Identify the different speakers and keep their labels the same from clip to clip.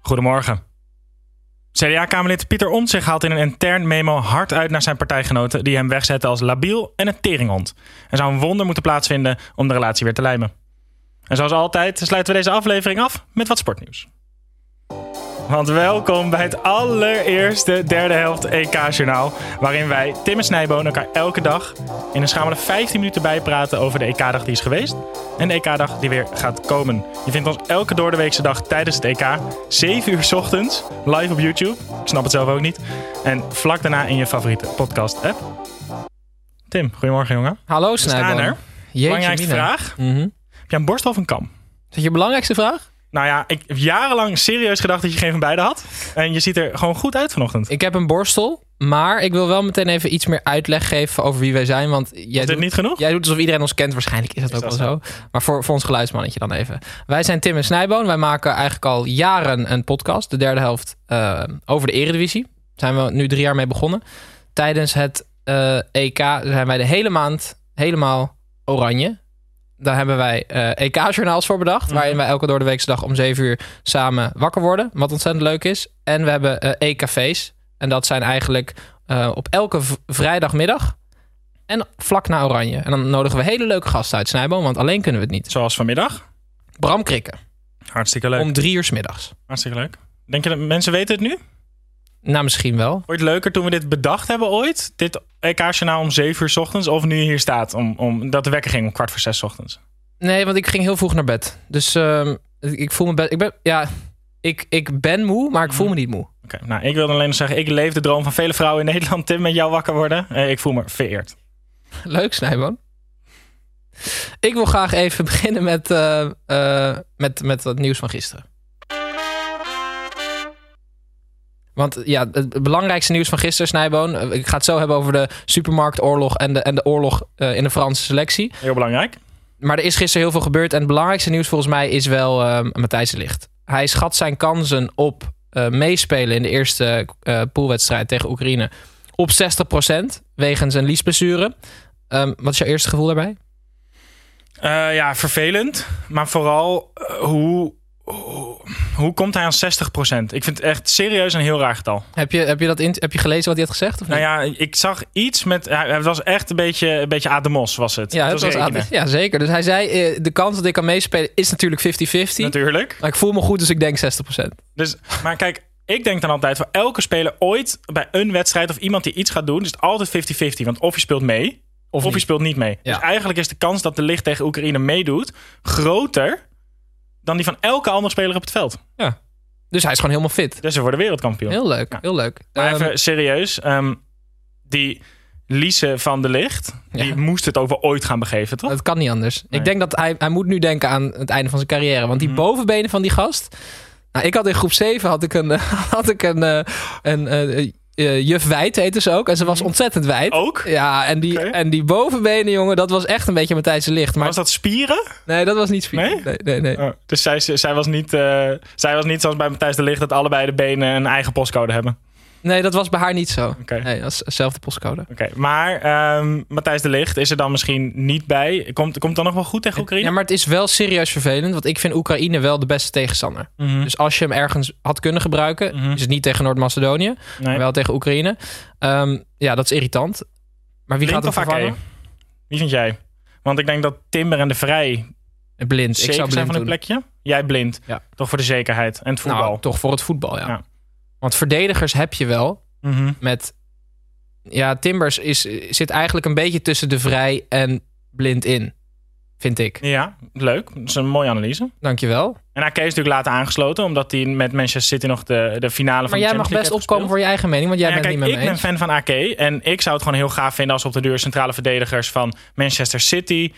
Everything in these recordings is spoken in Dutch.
Speaker 1: Goedemorgen. CDA-kamerlid Pieter Omtzigt haalt in een intern memo hard uit naar zijn partijgenoten die hem wegzetten als labiel en een teringhond. Er zou een wonder moeten plaatsvinden om de relatie weer te lijmen. En zoals altijd sluiten we deze aflevering af met wat sportnieuws. Want welkom bij het allereerste derde helft EK-journaal, waarin wij, Tim en Snijboon, elkaar elke dag in een schamele 15 minuten bijpraten over de EK-dag die is geweest en de EK-dag die weer gaat komen. Je vindt ons elke doordeweekse dag tijdens het EK, 7 uur 's ochtends, live op YouTube, ik snap het zelf ook niet, en vlak daarna in je favoriete podcast-app. Tim, goedemorgen jongen.
Speaker 2: Hallo
Speaker 1: We staan er.
Speaker 2: Snijboon.
Speaker 1: Belangrijkste
Speaker 2: mina.
Speaker 1: vraag,
Speaker 2: Mhm.
Speaker 1: heb jij een borstel of een kam?
Speaker 2: Is dat je belangrijkste vraag?
Speaker 1: Nou ja, ik heb jarenlang serieus gedacht dat je geen van beide had. En je ziet er gewoon goed uit vanochtend.
Speaker 2: Ik heb een borstel, maar ik wil wel meteen even iets meer uitleg geven over wie wij zijn. Want jij
Speaker 1: Is dit
Speaker 2: doet,
Speaker 1: niet genoeg?
Speaker 2: jij doet alsof iedereen ons kent. Waarschijnlijk is dat ook
Speaker 1: dat
Speaker 2: wel zo. Maar voor, voor ons geluidsmannetje dan even. Wij zijn Tim en Snijboon. Wij maken eigenlijk al jaren een podcast. De derde helft eh, over de Eredivisie. Daar zijn we nu drie jaar mee begonnen. Tijdens het eh, EK zijn wij de hele maand helemaal oranje. Daar hebben wij eh, EK-journaals voor bedacht. Waarin wij elke door de weekse dag om 7 uur samen wakker worden. Wat ontzettend leuk is. En we hebben eh EKV's. En dat zijn eigenlijk eh, op elke v- vrijdagmiddag. En vlak na Oranje. En dan nodigen we hele leuke gasten uit Snijboom. Want alleen kunnen we het niet. Dus
Speaker 1: Zoals vanmiddag.
Speaker 2: Bram Krikken.
Speaker 1: Hartstikke leuk.
Speaker 2: Om drie uur 's middags.
Speaker 1: Hartstikke leuk. Denk je dat mensen weten het nu?
Speaker 2: Nou, misschien wel.
Speaker 1: Ooit leuker toen we dit bedacht hebben ooit? Dit EK-journaal om 7 uur 's ochtends? Of nu je hier staat, om, om, dat de wekker ging om kwart voor 6 's ochtends?
Speaker 2: Nee, want ik ging heel vroeg naar bed. Dus ehm, ik voel me... Be- ik ben... Ja, ik, ik ben moe, maar ik voel me niet moe.
Speaker 1: Oké, nou ik wilde alleen nog zeggen, ik leef de droom van vele vrouwen in Nederland. Tim, met jou wakker worden. Eh, ik voel me vereerd.
Speaker 2: Leuk, Snijboon. Ik wil graag even beginnen met, eh, eh, met, met het nieuws van gisteren. Want eh, ja, het belangrijkste nieuws van gisteren, Snijboon. eh, Ik ga het zo hebben over de supermarktoorlog en de, en de oorlog eh, in de Franse selectie.
Speaker 1: Heel belangrijk.
Speaker 2: Maar er is gisteren heel veel gebeurd. En het belangrijkste nieuws volgens mij is wel eh, Matthijs de Ligt. Hij schat zijn kansen op eh, meespelen in de eerste eh, poolwedstrijd tegen Oekraïne op 60% wegens een liesblessure. Ehm, wat is jouw eerste gevoel daarbij?
Speaker 1: Eh, ja, vervelend. Maar vooral, eh, hoe, hoe, hoe komt hij aan 60%? Ik vind het echt serieus een heel raar getal.
Speaker 2: Heb je, heb je, dat in, heb je gelezen wat hij had gezegd? Of
Speaker 1: Nou
Speaker 2: niet?
Speaker 1: ja, ik zag iets met... ja, Het was echt een beetje, een beetje Ademos, was het.
Speaker 2: ja, het was
Speaker 1: rekenen.
Speaker 2: aardig. ja, zeker. Dus hij zei, eh, de kans dat ik kan meespelen is natuurlijk 50-50.
Speaker 1: Natuurlijk.
Speaker 2: Maar ik voel me goed, dus ik denk 60%.
Speaker 1: Dus, maar kijk, ik denk dan altijd... voor elke speler ooit bij een wedstrijd of iemand die iets gaat doen... is het altijd 50-50. Want of je speelt mee, of,
Speaker 2: niet.
Speaker 1: je speelt niet mee.
Speaker 2: Ja.
Speaker 1: Dus eigenlijk is de kans dat de licht tegen Oekraïne meedoet... groter dan die van elke andere speler op het veld.
Speaker 2: Dus hij is gewoon helemaal fit.
Speaker 1: Dus ze worden wereldkampioen.
Speaker 2: Heel leuk,
Speaker 1: Ja.
Speaker 2: heel leuk.
Speaker 1: Maar
Speaker 2: Ehm,
Speaker 1: even serieus. ehm, die Lise van de Licht, die
Speaker 2: Ja.
Speaker 1: moest het ook wel ooit gaan begeven, toch?
Speaker 2: Het kan niet anders.
Speaker 1: Nee. Mhm.
Speaker 2: Ik denk dat hij, hij moet nu denken aan het einde van zijn carrière. Want die bovenbenen van die gast. Nou, ik had in groep 7 had ik een, had ik een, eh, een eh, eh, juf wijd heette ze ook. En ze was ontzettend wijd.
Speaker 1: Ook?
Speaker 2: Ja, en die,
Speaker 1: Mhm. Oh. Oké.
Speaker 2: en die bovenbenen, jongen, dat was echt een beetje Matthijs de Licht. Maar
Speaker 1: Was dat spieren?
Speaker 2: nee, dat was niet spier.
Speaker 1: Nee?
Speaker 2: Nee, nee, nee.
Speaker 1: Oh, dus zij, zij, was niet, eh, zij was niet zoals bij Matthijs de Licht... dat allebei de benen een eigen postcode hebben.
Speaker 2: Nee, dat was bij haar niet zo.
Speaker 1: Oké.
Speaker 2: Nee, dat is dezelfde postcode.
Speaker 1: Oké, maar ehm, Matthijs de Ligt is er dan misschien niet bij. Komt, komt dan nog wel goed tegen Oekraïne?
Speaker 2: Ja, maar het is wel serieus vervelend, want ik vind Oekraïne wel de beste tegenstander.
Speaker 1: Mhm.
Speaker 2: Dus als je hem ergens had kunnen gebruiken, is het niet tegen Noord-Macedonië.
Speaker 1: nee.
Speaker 2: Wel tegen Oekraïne. Ehm, ja, dat is irritant. Maar wie
Speaker 1: Blind
Speaker 2: gaat hem
Speaker 1: of E? Ake?
Speaker 2: vervangen?
Speaker 1: Wie vind jij? Want ik denk dat Timber en de Vrij
Speaker 2: Blind. Ik
Speaker 1: zeker zijn
Speaker 2: zou blind
Speaker 1: van
Speaker 2: doen.
Speaker 1: een plekje. Jij blind.
Speaker 2: Ja.
Speaker 1: Toch voor de zekerheid. En het voetbal.
Speaker 2: Nou, toch voor het voetbal, ja.
Speaker 1: Ja.
Speaker 2: Want verdedigers heb je wel
Speaker 1: Mhm.
Speaker 2: met... Ja, Timbers is, zit eigenlijk een beetje tussen de vrij en blind in. Vind ik.
Speaker 1: Ja, leuk. Dat is een mooie analyse.
Speaker 2: Dankjewel.
Speaker 1: En Ake is natuurlijk later aangesloten, omdat hij met Manchester City nog de, de finale van
Speaker 2: Maar
Speaker 1: de
Speaker 2: jij mag
Speaker 1: Champions League
Speaker 2: best
Speaker 1: heeft
Speaker 2: opkomen voor je eigen mening, want jij
Speaker 1: Nou ja,
Speaker 2: bent
Speaker 1: kijk,
Speaker 2: het niet
Speaker 1: ik
Speaker 2: met me
Speaker 1: ben
Speaker 2: eens.
Speaker 1: fan van Ake. En ik zou het gewoon heel gaaf vinden als op de deur centrale verdedigers van Manchester City,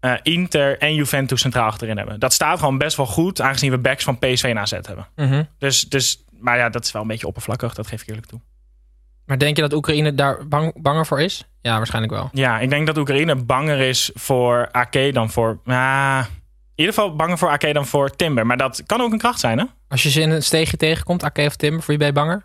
Speaker 1: eh, Inter en Juventus centraal achterin hebben. Dat staat gewoon best wel goed, aangezien we backs van PSV en AZ hebben.
Speaker 2: Mhm.
Speaker 1: Dus, dus, maar ja, dat is wel een beetje oppervlakkig, dat geef ik eerlijk toe.
Speaker 2: Maar denk je dat Oekraïne daar bang, banger voor is? Ja, waarschijnlijk wel.
Speaker 1: Ja, ik denk dat Oekraïne banger is voor Ake dan voor... Ah, in ieder geval banger voor Ake dan voor Timber. Maar dat kan ook een kracht zijn, hè?
Speaker 2: Als je ze in een steegje tegenkomt, Ake of Timber, voor wie ben je banger?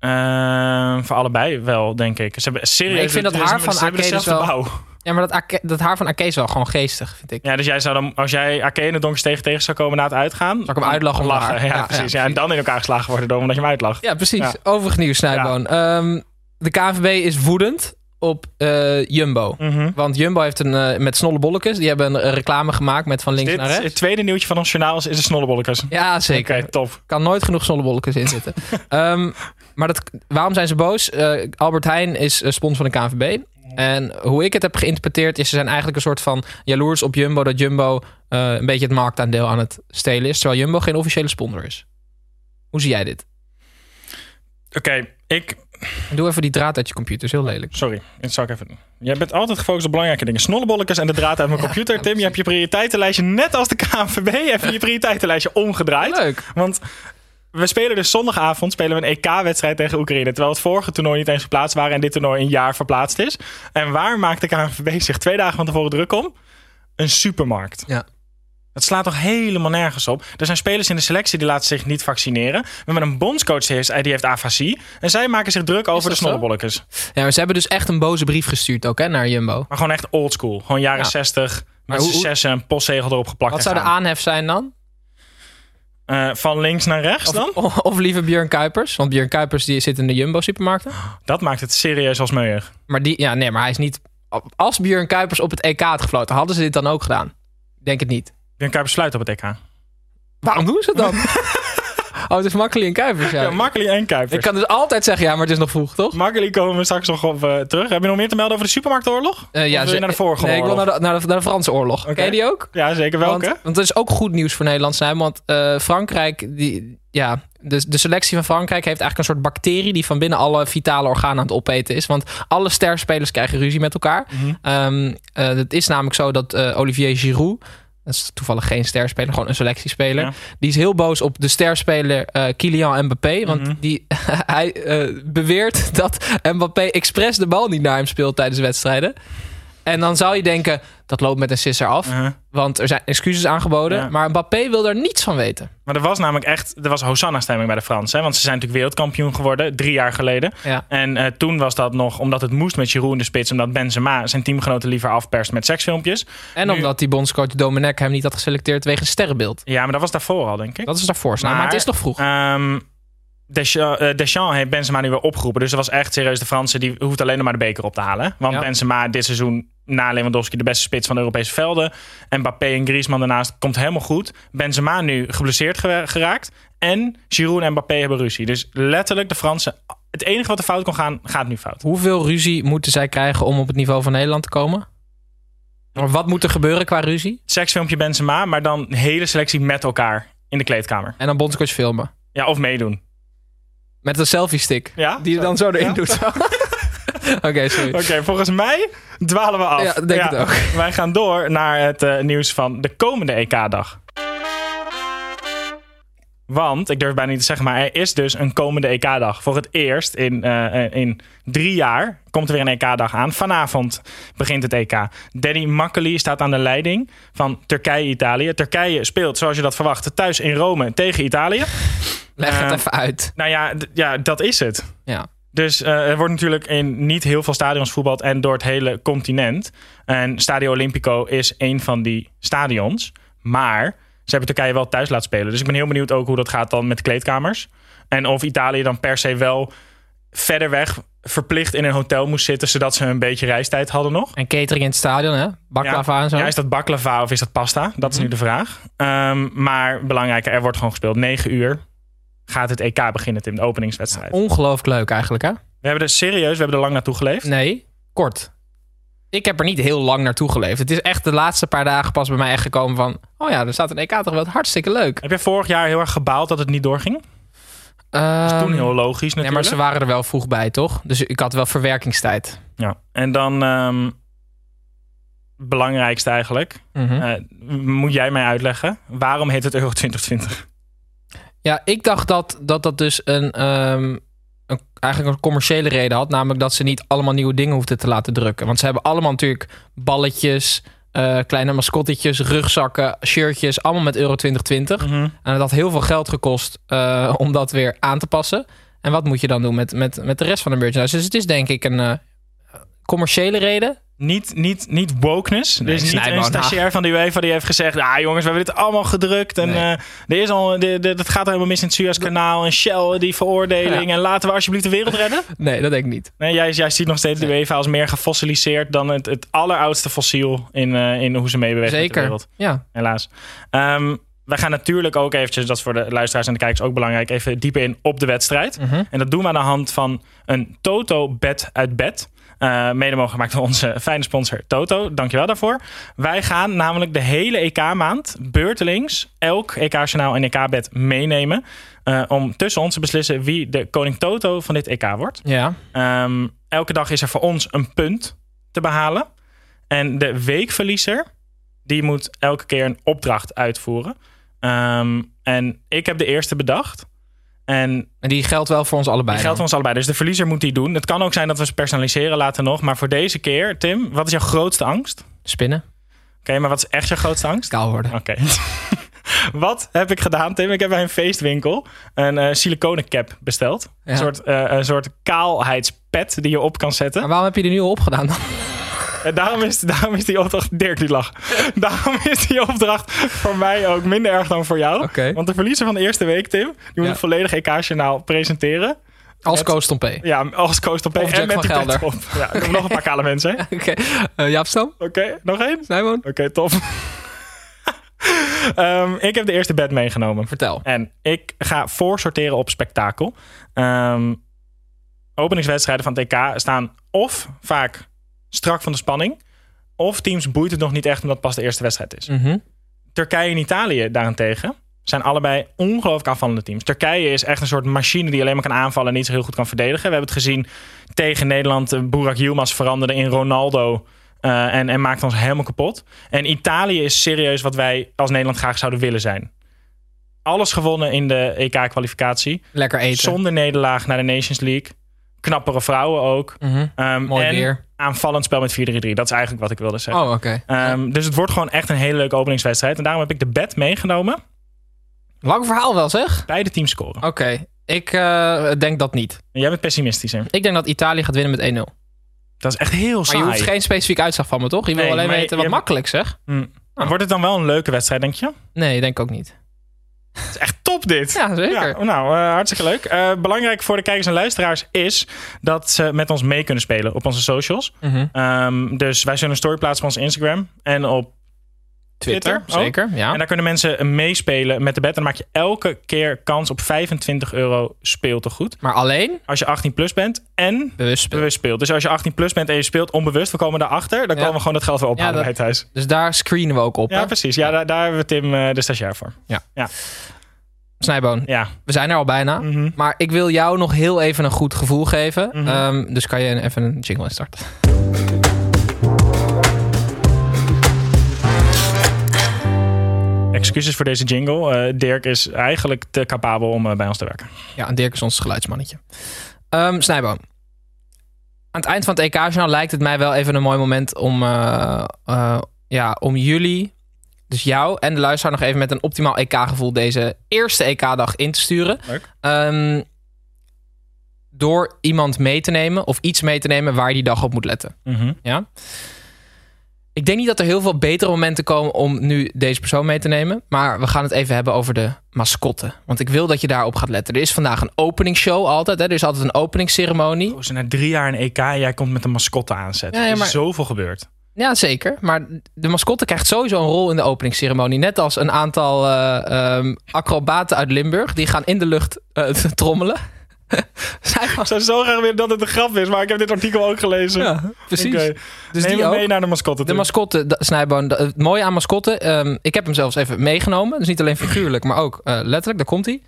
Speaker 1: Ehm, voor allebei wel, denk ik. Ze hebben serieus.
Speaker 2: Maar ik vind dat
Speaker 1: ze-
Speaker 2: haar
Speaker 1: ze
Speaker 2: van
Speaker 1: hebben
Speaker 2: Ake dus
Speaker 1: dezelfde
Speaker 2: wel-
Speaker 1: bouw.
Speaker 2: Ja, maar dat, Ake- dat haar van Ake is wel gewoon geestig, vind ik.
Speaker 1: Ja, dus jij zou dan, als jij Ake in de donkers tegen tegen zou komen na het uitgaan.
Speaker 2: ik hem uitlachen om
Speaker 1: lachen.
Speaker 2: haar?
Speaker 1: Ja,
Speaker 2: Ja, ja,
Speaker 1: precies. Ja, en dan in elkaar geslagen worden door omdat je hem uitlacht.
Speaker 2: Ja, precies.
Speaker 1: Ja.
Speaker 2: Overig nieuws, Snijboon. Ehm, de KNVB is woedend op eh, Jumbo.
Speaker 1: Mhm.
Speaker 2: Want Jumbo heeft een, eh, met snolle bolletjes, die hebben een eh, reclame gemaakt met van links
Speaker 1: Dit,
Speaker 2: naar rechts.
Speaker 1: het tweede nieuwtje van ons journaal is, is de snollebollekes.
Speaker 2: Ja, zeker.
Speaker 1: Oké, top.
Speaker 2: kan nooit genoeg zonnebollekes in zitten. Ehm, maar dat, waarom zijn ze boos? Eh, Albert Heijn is eh, sponsor van de KNVB. En hoe ik het heb geïnterpreteerd is, ze zijn eigenlijk een soort van jaloers op Jumbo... dat Jumbo eh, een beetje het marktaandeel aan het stelen is... terwijl Jumbo geen officiële sponsor is. Hoe zie jij dit?
Speaker 1: Oké, ik.
Speaker 2: En doe even die draad uit je computer, is heel lelijk.
Speaker 1: Sorry, dit zal ik even doen. Jij bent altijd gefocust op belangrijke dingen. Snollebollekes en de draad uit mijn computer.
Speaker 2: ja,
Speaker 1: Tim, je hebt je prioriteitenlijstje net als de KNVB. Even je prioriteitenlijstje omgedraaid.
Speaker 2: Leuk.
Speaker 1: Want we spelen dus zondagavond spelen we een EK-wedstrijd tegen Oekraïne. Terwijl het vorige toernooi niet eens verplaatst waren en dit toernooi een jaar verplaatst is. En waar maakt de KNVB zich twee dagen van tevoren druk om? Een supermarkt.
Speaker 2: Ja.
Speaker 1: Dat slaat toch helemaal nergens op? Er zijn spelers in de selectie die laten zich niet vaccineren. We hebben een bondscoach die heeft, die heeft afasie. En zij maken zich druk over de
Speaker 2: dat zo?
Speaker 1: snollebollekes.
Speaker 2: Ja, maar ze hebben dus echt een boze brief gestuurd ook hè, naar Jumbo.
Speaker 1: Maar gewoon echt oldschool. Gewoon jaren
Speaker 2: Ja.
Speaker 1: 60. Met
Speaker 2: Maar
Speaker 1: z'n
Speaker 2: hoe- hoe-
Speaker 1: zessen een postzegel erop geplakt.
Speaker 2: Wat
Speaker 1: en
Speaker 2: zou de
Speaker 1: gaan.
Speaker 2: aanhef zijn dan?
Speaker 1: Eh, van links naar rechts dan?
Speaker 2: Of, of liever Björn Kuipers? Want Björn Kuipers die zit in de Jumbo-supermarkten.
Speaker 1: Dat maakt het serieus als meuig.
Speaker 2: Maar die, ja, nee, maar hij is niet. Als Björn Kuipers op het EK had gefloten, hadden ze dit dan ook gedaan? Ik Denk het niet.
Speaker 1: Björn Kuipers sluit op het E EK.
Speaker 2: Waarom doen ze het dan? oh, het is Makkeli en Kuipers. Ja.
Speaker 1: Ja, Makkeli en Kuipers.
Speaker 2: ik kan dus altijd zeggen, ja, maar het is nog vroeg, toch?
Speaker 1: Makkelijk komen we straks nog op eh, terug. Heb je nog meer te melden over de supermarktoorlog?
Speaker 2: Eh,
Speaker 1: Of wil
Speaker 2: ze-
Speaker 1: je naar de vorige
Speaker 2: Nee, ik wil
Speaker 1: oorlog?
Speaker 2: naar de, naar de, naar de Franse oorlog.
Speaker 1: Oké.
Speaker 2: Ken je die ook?
Speaker 1: Ja, zeker. Welke?
Speaker 2: Want, want dat is ook goed nieuws voor Nederland, zijn, want eh, Frankrijk, die, ja, de, de selectie van Frankrijk heeft eigenlijk een soort bacterie die van binnen alle vitale organen aan het opeten is. Want alle sterspelers krijgen ruzie met elkaar.
Speaker 1: Mhm.
Speaker 2: Ehm, eh, het is namelijk zo dat eh, Olivier Giroud, dat is toevallig geen sterspeler, gewoon een selectiespeler,
Speaker 1: Ja.
Speaker 2: die is heel boos op de sterspeler eh, Kylian Mbappé, want
Speaker 1: Mhm.
Speaker 2: die, hij eh, beweert dat Mbappé expres de bal niet naar hem speelt tijdens wedstrijden. En dan zou je denken, dat loopt met een sisser af.
Speaker 1: Uh-huh.
Speaker 2: Want er zijn excuses aangeboden.
Speaker 1: Ja.
Speaker 2: Maar Mbappé wil daar niets van weten.
Speaker 1: Maar er was namelijk echt... Er was Hosanna-stemming bij de Fransen. hè, Want ze zijn natuurlijk wereldkampioen geworden. Drie jaar geleden.
Speaker 2: Ja.
Speaker 1: En eh, toen was dat nog omdat het moest met Giroud in de spits. Omdat Benzema zijn teamgenoten liever afperst met seksfilmpjes.
Speaker 2: En
Speaker 1: Nu-
Speaker 2: omdat die bondscoach Domenech hem niet had geselecteerd wegens sterrenbeeld.
Speaker 1: Ja, maar dat was daarvoor al, denk ik.
Speaker 2: Dat is daarvoor staan. Maar, het is toch vroeg?
Speaker 1: Ehm, Deschamps, eh, Deschamps heeft Benzema nu weer opgeroepen. Dus dat was echt serieus. De Fransen die hoeft alleen nog maar de beker op te halen. Want
Speaker 2: Ja.
Speaker 1: Benzema dit seizoen na Lewandowski de beste spits van de Europese velden. En Mbappé en Griezmann daarnaast komt helemaal goed. Benzema nu geblesseerd ge- geraakt. En Giroud en Mbappé hebben ruzie. Dus letterlijk de Fransen... Het enige wat er fout kon gaan, gaat nu fout.
Speaker 2: Hoeveel ruzie moeten zij krijgen om op het niveau van Nederland te komen? Maar Wat moet er gebeuren qua ruzie?
Speaker 1: Seksfilmpje Benzema, maar dan hele selectie met elkaar in de kleedkamer.
Speaker 2: En dan bondscoach filmen.
Speaker 1: Ja, of meedoen.
Speaker 2: Met een selfie stick.
Speaker 1: Ja?
Speaker 2: Die je dan zo erin doet. Oké, sorry.
Speaker 1: Oké, volgens mij dwalen we af.
Speaker 2: Ja, denk het ook.
Speaker 1: Wij gaan door naar het eh, nieuws van de komende E EK-dag. Want, ik durf bijna niet te zeggen, maar er is dus een komende EK-dag. Voor het eerst in, eh, eh, in drie jaar komt er weer een EK-dag aan. Vanavond begint het EK. Danny Makkely staat aan de leiding van Turkije-Italië. Turkije speelt, zoals je dat verwacht, thuis in Rome tegen Italië.
Speaker 2: Leg het
Speaker 1: Ehm,
Speaker 2: even uit.
Speaker 1: Nou ja, d- ja dat is het.
Speaker 2: Ja.
Speaker 1: Dus eh, er wordt natuurlijk in niet heel veel stadions voetbald en door het hele continent. En Stadio Olimpico is een van die stadions. Maar ze hebben Turkije wel thuis laten spelen. Dus ik ben heel benieuwd ook hoe dat gaat dan met de kleedkamers. En of Italië dan per se wel verder weg verplicht in een hotel moest zitten, zodat ze een beetje reistijd hadden nog.
Speaker 2: En catering in het stadion, hè? Baklava
Speaker 1: ja.
Speaker 2: en zo.
Speaker 1: Ja, is dat baklava of is dat pasta? Dat is nu de vraag. Ehm, maar belangrijker, er wordt gewoon gespeeld. 9 uur gaat het EK beginnen, Tim, de openingswedstrijd.
Speaker 2: Ongelooflijk leuk eigenlijk, hè?
Speaker 1: We hebben er serieus, we hebben er lang naartoe geleefd.
Speaker 2: Nee, kort. Ik heb er niet heel lang naartoe geleefd. Het is echt de laatste paar dagen pas bij mij echt gekomen van... Oh ja, er staat een EK toch wel hartstikke leuk.
Speaker 1: Heb jij vorig jaar heel erg gebaald dat het niet doorging? Toen
Speaker 2: Ehm,
Speaker 1: heel logisch natuurlijk.
Speaker 2: nee, maar ze waren er wel vroeg bij, toch? Dus ik had wel verwerkingstijd.
Speaker 1: Ja, en dan ehm, belangrijkste eigenlijk.
Speaker 2: Mhm.
Speaker 1: eh, moet jij mij uitleggen, waarom heet het Euro 2020?
Speaker 2: Ja, ik dacht dat dat, dat dus een, ehm, een- eigenlijk een commerciële reden had. Namelijk dat ze niet allemaal nieuwe dingen hoefden te laten drukken. Want ze hebben allemaal natuurlijk balletjes, eh, kleine mascottetjes, rugzakken, shirtjes. Allemaal met euro 2020. En het had heel veel geld gekost eh, om dat weer aan te passen. En wat moet je dan doen met, met, met de rest van de merchandise? Dus het is denk ik een eh, commerciële reden.
Speaker 1: Niet, niet, niet wokeness.
Speaker 2: Nee,
Speaker 1: dus niet
Speaker 2: Snijboon,
Speaker 1: een
Speaker 2: ha.
Speaker 1: stagiair van de UEFA die heeft gezegd... ah jongens, we hebben dit allemaal gedrukt. En
Speaker 2: Nee.
Speaker 1: eh, er is al, de, de- dat gaat helemaal mis in het Suezkanaal. En Shell, die veroordeling.
Speaker 2: Ja.
Speaker 1: En laten we alsjeblieft de wereld redden.
Speaker 2: Nee, dat denk ik niet.
Speaker 1: Nee, jij, jij ziet nog steeds de UEFA als meer gefossiliseerd... dan het, het alleroudste fossiel in, eh, in hoe ze meebeweegt met de
Speaker 2: Zeker.
Speaker 1: wereld.
Speaker 2: Ja.
Speaker 1: helaas. Ehm we gaan natuurlijk ook eventjes, dat is voor de luisteraars en de kijkers ook belangrijk, even dieper in op de wedstrijd. En dat doen we aan de hand van een Toto-bed uit bed. Eh, mede mogelijk gemaakt door onze fijne sponsor Toto. Dankjewel daarvoor. Wij gaan namelijk de hele EK-maand beurtelings elk EK-journaal en EK-bed meenemen. eh, om tussen ons te beslissen wie de koning Toto van dit EK wordt.
Speaker 2: Ja.
Speaker 1: Ehm, elke dag is er voor ons een punt te behalen. En de weekverliezer, die moet elke keer een opdracht uitvoeren. Ehm, en ik heb de eerste bedacht. En
Speaker 2: En die geldt wel voor ons allebei.
Speaker 1: die geldt voor ons
Speaker 2: dan.
Speaker 1: allebei. Dus de verliezer moet die doen. Het kan ook zijn dat we ze personaliseren later nog. Maar voor deze keer, Tim, wat is jouw grootste angst? Oké,
Speaker 2: Spinnen.
Speaker 1: maar wat is echt jouw grootste angst?
Speaker 2: Kaal worden.
Speaker 1: Oké. Wat heb ik gedaan, Tim? Ik heb bij een feestwinkel een eh siliconen cap besteld.
Speaker 2: Ja.
Speaker 1: Een, soort, eh, een soort kaalheidspet die je op kan zetten.
Speaker 2: Maar waarom heb je die nieuwe opgedaan dan?
Speaker 1: En daarom is, daarom is die opdracht... Dirk die lag. Daarom is die opdracht voor mij ook minder erg dan voor jou.
Speaker 2: Oké.
Speaker 1: Want de verliezer van de eerste week, Tim... die moet
Speaker 2: Ja.
Speaker 1: het volledig EK-journaal presenteren.
Speaker 2: Als
Speaker 1: Het-
Speaker 2: Koos Tompé.
Speaker 1: Ja, als coach op
Speaker 2: Of Jack
Speaker 1: en met
Speaker 2: van
Speaker 1: die pet
Speaker 2: Gelder.
Speaker 1: op. Ja, ik heb nog een paar kale mensen. hè? Oké,
Speaker 2: Oké. Eh, Jaap Stam?
Speaker 1: nog één? Oké,
Speaker 2: Snijboon?
Speaker 1: tof. Ehm, ik heb de eerste bed meegenomen.
Speaker 2: Vertel.
Speaker 1: En ik ga voorsorteren op spektakel. Ehm, openingswedstrijden van het TK staan of vaak strak van de spanning... of teams boeit het nog niet echt omdat het pas de eerste wedstrijd is.
Speaker 2: Mhm.
Speaker 1: Turkije en Italië daarentegen zijn allebei ongelooflijk aanvallende teams. Turkije is echt een soort machine die alleen maar kan aanvallen... en niet zo heel goed kan verdedigen. We hebben het gezien tegen Nederland. eh, Burak Yilmaz veranderde in Ronaldo... eh, en, en maakt ons helemaal kapot. En Italië is serieus wat wij als Nederland graag zouden willen zijn. Alles gewonnen in de EK-kwalificatie.
Speaker 2: Lekker eten.
Speaker 1: Zonder nederlaag naar de Nations League. Knappere vrouwen ook.
Speaker 2: Mhm.
Speaker 1: Ehm,
Speaker 2: Mooi
Speaker 1: en
Speaker 2: weer.
Speaker 1: aanvallend spel met 4-3-3. Dat is eigenlijk wat ik wilde zeggen.
Speaker 2: Oh, oké.
Speaker 1: Ehm, dus het wordt gewoon echt een hele leuke openingswedstrijd. En daarom heb ik de bet meegenomen.
Speaker 2: Lang verhaal wel, zeg.
Speaker 1: Beide teams scoren.
Speaker 2: Oké. Ik eh, denk dat niet.
Speaker 1: En Jij bent pessimistischer.
Speaker 2: Ik denk dat Italië gaat winnen met 1-0.
Speaker 1: Dat is echt heel
Speaker 2: Maar
Speaker 1: saai.
Speaker 2: je hoeft geen specifiek uitslag van me, toch? Je wil
Speaker 1: Nee,
Speaker 2: alleen
Speaker 1: maar
Speaker 2: weten
Speaker 1: je-
Speaker 2: wat makkelijk, zeg.
Speaker 1: Hm. Maar Wordt het dan wel een leuke wedstrijd, denk je?
Speaker 2: Nee, denk ook niet.
Speaker 1: Het is echt top dit.
Speaker 2: Ja, zeker.
Speaker 1: Ja, nou, eh, hartstikke leuk. Eh, belangrijk voor de kijkers en luisteraars is dat ze met ons mee kunnen spelen op onze socials.
Speaker 2: Mhm.
Speaker 1: Ehm, dus wij zullen een story plaatsen op ons Instagram en op Twitter ook.
Speaker 2: zeker. Ja.
Speaker 1: En daar kunnen mensen meespelen met de bet. En dan maak je elke keer kans op 25 euro speeltegoed.
Speaker 2: Maar alleen
Speaker 1: Als je 18 plus bent en
Speaker 2: bewust spelen.
Speaker 1: bewust speelt. Dus als je 18 plus bent en je speelt onbewust, we komen daarachter, dan
Speaker 2: Ja.
Speaker 1: komen we gewoon dat geld weer ophalen
Speaker 2: Ja, dat-
Speaker 1: bij het huis.
Speaker 2: Dus daar screenen we ook op.
Speaker 1: Ja,
Speaker 2: hè?
Speaker 1: precies. Ja, daar, daar hebben we Tim eh, de stagiair voor.
Speaker 2: Snijboon,
Speaker 1: Ja.
Speaker 2: we zijn er al bijna.
Speaker 1: Mhm.
Speaker 2: Maar ik wil jou nog heel even een goed gevoel geven. Ehm, dus kan je even een jingle starten?
Speaker 1: Excuses voor deze jingle. Eh, Dirk is eigenlijk te capabel om eh, bij ons te werken.
Speaker 2: Ja, en Dirk is ons geluidsmannetje. Ehm Snijboon. Aan het eind van het EK-journaal lijkt het mij wel even een mooi moment om, eh, eh, ja, om jullie, dus jou en de luisteraar, nog even met een optimaal EK-gevoel deze eerste EK-dag in te sturen.
Speaker 1: Leuk.
Speaker 2: Ehm, door iemand mee te nemen of iets mee te nemen waar je die dag op moet letten.
Speaker 1: Mhm.
Speaker 2: Ja? Ik denk niet dat er heel veel betere momenten komen om nu deze persoon mee te nemen. Maar we gaan het even hebben over de mascotte. Want ik wil dat je daarop gaat letten. Er is vandaag een openingsshow altijd. Hè? Er is altijd een openingsceremonie.
Speaker 1: Ze na drie jaar een EK en jij komt met een mascotte aanzetten.
Speaker 2: Ja, ja, maar-
Speaker 1: Er is zoveel gebeurd.
Speaker 2: Ja, zeker. Maar de mascotte krijgt sowieso een rol in de openingsceremonie. Net als een aantal eh, ehm, acrobaten uit Limburg. Die gaan in de lucht eh, trommelen. Zij gaan-
Speaker 1: Ik zou zo graag willen dat het een grap is, maar ik heb dit artikel ook gelezen.
Speaker 2: Ja, precies.
Speaker 1: Oké.
Speaker 2: Dus
Speaker 1: Neem
Speaker 2: die
Speaker 1: hem
Speaker 2: ook.
Speaker 1: mee naar de mascotte
Speaker 2: De
Speaker 1: toe.
Speaker 2: mascotte, da- Snijboon, da- het mooie aan mascotte. ehm, ik heb hem zelfs even meegenomen. Dus niet alleen figuurlijk, maar ook eh, letterlijk. Daar komt hij.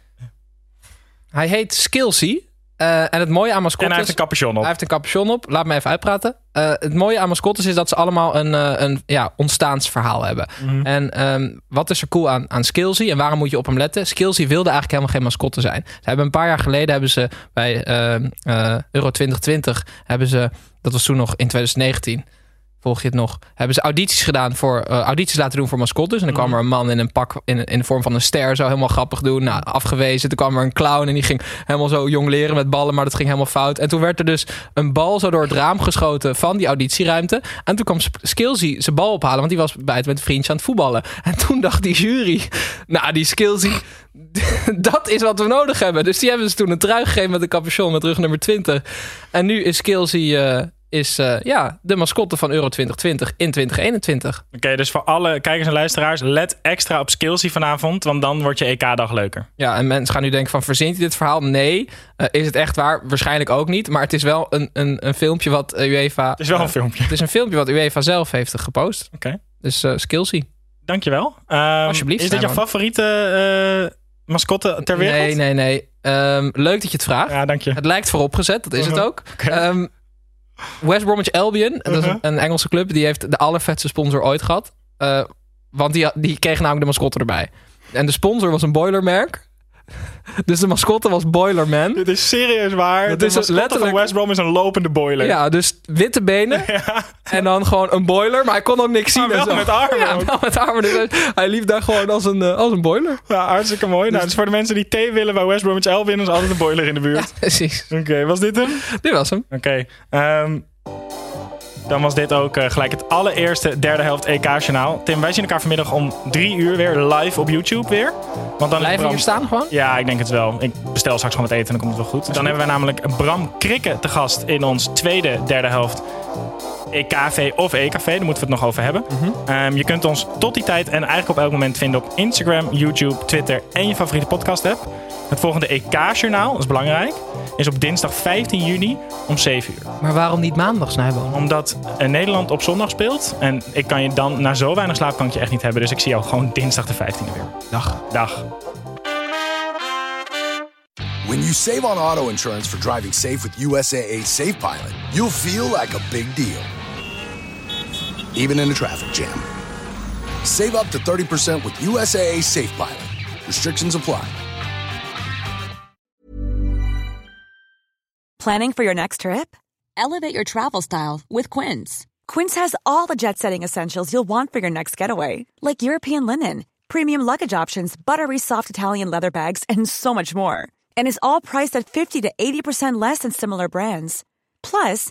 Speaker 2: Hij heet Skillsy. Eh, en het mooie aan
Speaker 1: en hij heeft
Speaker 2: mascottes...
Speaker 1: een capuchon op.
Speaker 2: Hij heeft een capuchon op. Laat me even uitpraten. Eh, het mooie aan mascottes is dat ze allemaal een, eh, een ja, ontstaansverhaal hebben.
Speaker 1: Mhm.
Speaker 2: En ehm, wat is er cool aan, aan Skillsy en waarom moet je op hem letten? Skillsy wilde eigenlijk helemaal geen mascotte zijn. Ze hebben een paar jaar geleden hebben ze bij ehm, eh, Euro 2020 hebben ze, dat was toen nog in 2019. Volg je het nog? Hebben ze audities gedaan voor eh, audities laten doen voor mascottes? En dan kwam er een man in een pak in, in de vorm van een ster, zo helemaal grappig doen. Nou, afgewezen. Toen kwam er een clown en die ging helemaal zo jong leren met ballen, maar dat ging helemaal fout. En toen werd er dus een bal zo door het raam geschoten van die auditieruimte. En toen kwam Sp- Skillsy zijn bal ophalen, want die was bij het met een vriendje aan het voetballen. En toen dacht die jury, nou, die Skillsy, dat is wat we nodig hebben. Dus die hebben ze toen een trui gegeven met een capuchon met rug nummer 20. En nu is Skillsy eh, is, eh, ja, de mascotte van Euro 2020 in 2021.
Speaker 1: Oké, dus voor alle kijkers en luisteraars, let extra op Skillsy vanavond, want dan wordt je EK-dag leuker.
Speaker 2: Ja, en mensen gaan nu denken van, verzint hij dit verhaal? Nee. Eh, is het echt waar? Waarschijnlijk ook niet. Maar het is wel een, een, een filmpje wat eh, UEFA...
Speaker 1: Het is wel
Speaker 2: eh,
Speaker 1: een filmpje.
Speaker 2: het is een filmpje wat UEFA zelf heeft gepost.
Speaker 1: Dus- Oké.
Speaker 2: Dus eh Skillsy.
Speaker 1: Dankjewel. Ehm,
Speaker 2: Alsjeblieft,
Speaker 1: Is dit jouw
Speaker 2: Simon.
Speaker 1: favoriete eh, mascotte ter wereld?
Speaker 2: Nee, nee, nee. Ehm, leuk dat je het vraagt.
Speaker 1: Ja, dank je.
Speaker 2: Het lijkt vooropgezet, dat is het
Speaker 1: Mhm.
Speaker 2: ook. Ehm, West Bromwich Albion, dat is
Speaker 1: Mhm.
Speaker 2: een, een Engelse club, die heeft de allervetste sponsor ooit gehad. Eh, want die, die kreeg namelijk de mascotte erbij. En de sponsor was een boilermerk. Dus de mascotte was Boilerman.
Speaker 1: Dit is serieus waar.
Speaker 2: Dat
Speaker 1: de
Speaker 2: is
Speaker 1: mascotte
Speaker 2: letterlijk-
Speaker 1: van West Brom is een lopende boiler.
Speaker 2: Ja, dus witte benen
Speaker 1: Ja,
Speaker 2: en dan gewoon een boiler. Maar hij kon ook niks zien.
Speaker 1: maar wel
Speaker 2: en zo.
Speaker 1: met armen
Speaker 2: Ja,
Speaker 1: ook.
Speaker 2: wel met armen. Dus hij- hij liep daar gewoon als een, eh, als een boiler.
Speaker 1: Ja, hartstikke mooi. Nou, dus voor de mensen die thee willen bij West Bromwich Albion is altijd een boiler in de buurt.
Speaker 2: Precies.
Speaker 1: Oké, was dit hem?
Speaker 2: Dit was hem.
Speaker 1: Oké. ehm, dan was dit ook eh, gelijk het allereerste derde helft EK-journaal. Tim, wij zien elkaar vanmiddag om drie uur weer live op YouTube weer. Want dan
Speaker 2: Blijven
Speaker 1: Bram-
Speaker 2: hier staan gewoon?
Speaker 1: Ja, ik denk het wel. Ik bestel straks gewoon wat eten en dan komt het wel goed. Dan hebben wij namelijk Bram Krikke te gast in ons tweede derde helft EKV of EKV. Daar moeten we het nog over hebben. Ehm, je kunt ons tot die tijd en eigenlijk op elk moment vinden op Instagram, YouTube, Twitter en je favoriete podcast app. Het volgende EK-journaal, dat is belangrijk, is op dinsdag 15 juni om 7 uur.
Speaker 2: Maar waarom niet maandag, Snijboom?
Speaker 1: Omdat eh, Nederland op zondag speelt en ik kan je dan na zo weinig slaap kan ik je echt niet hebben. Dus ik zie jou gewoon dinsdag de 15e weer.
Speaker 2: Dag.
Speaker 1: Dag.
Speaker 3: When you save on auto insurance for driving safe with USAA Safe Pilot, you'll feel like a big deal. Even in a traffic jam. Save up to 30% with USAA Safe Pilot. Restrictions apply.
Speaker 4: Planning for your next trip? Elevate your travel style with Quince. Quince has all the jet setting essentials you'll want for your next getaway, like European linen, premium luggage options, buttery soft Italian leather bags, and so much more. And is all priced at 50 to 80% less than similar brands. Plus,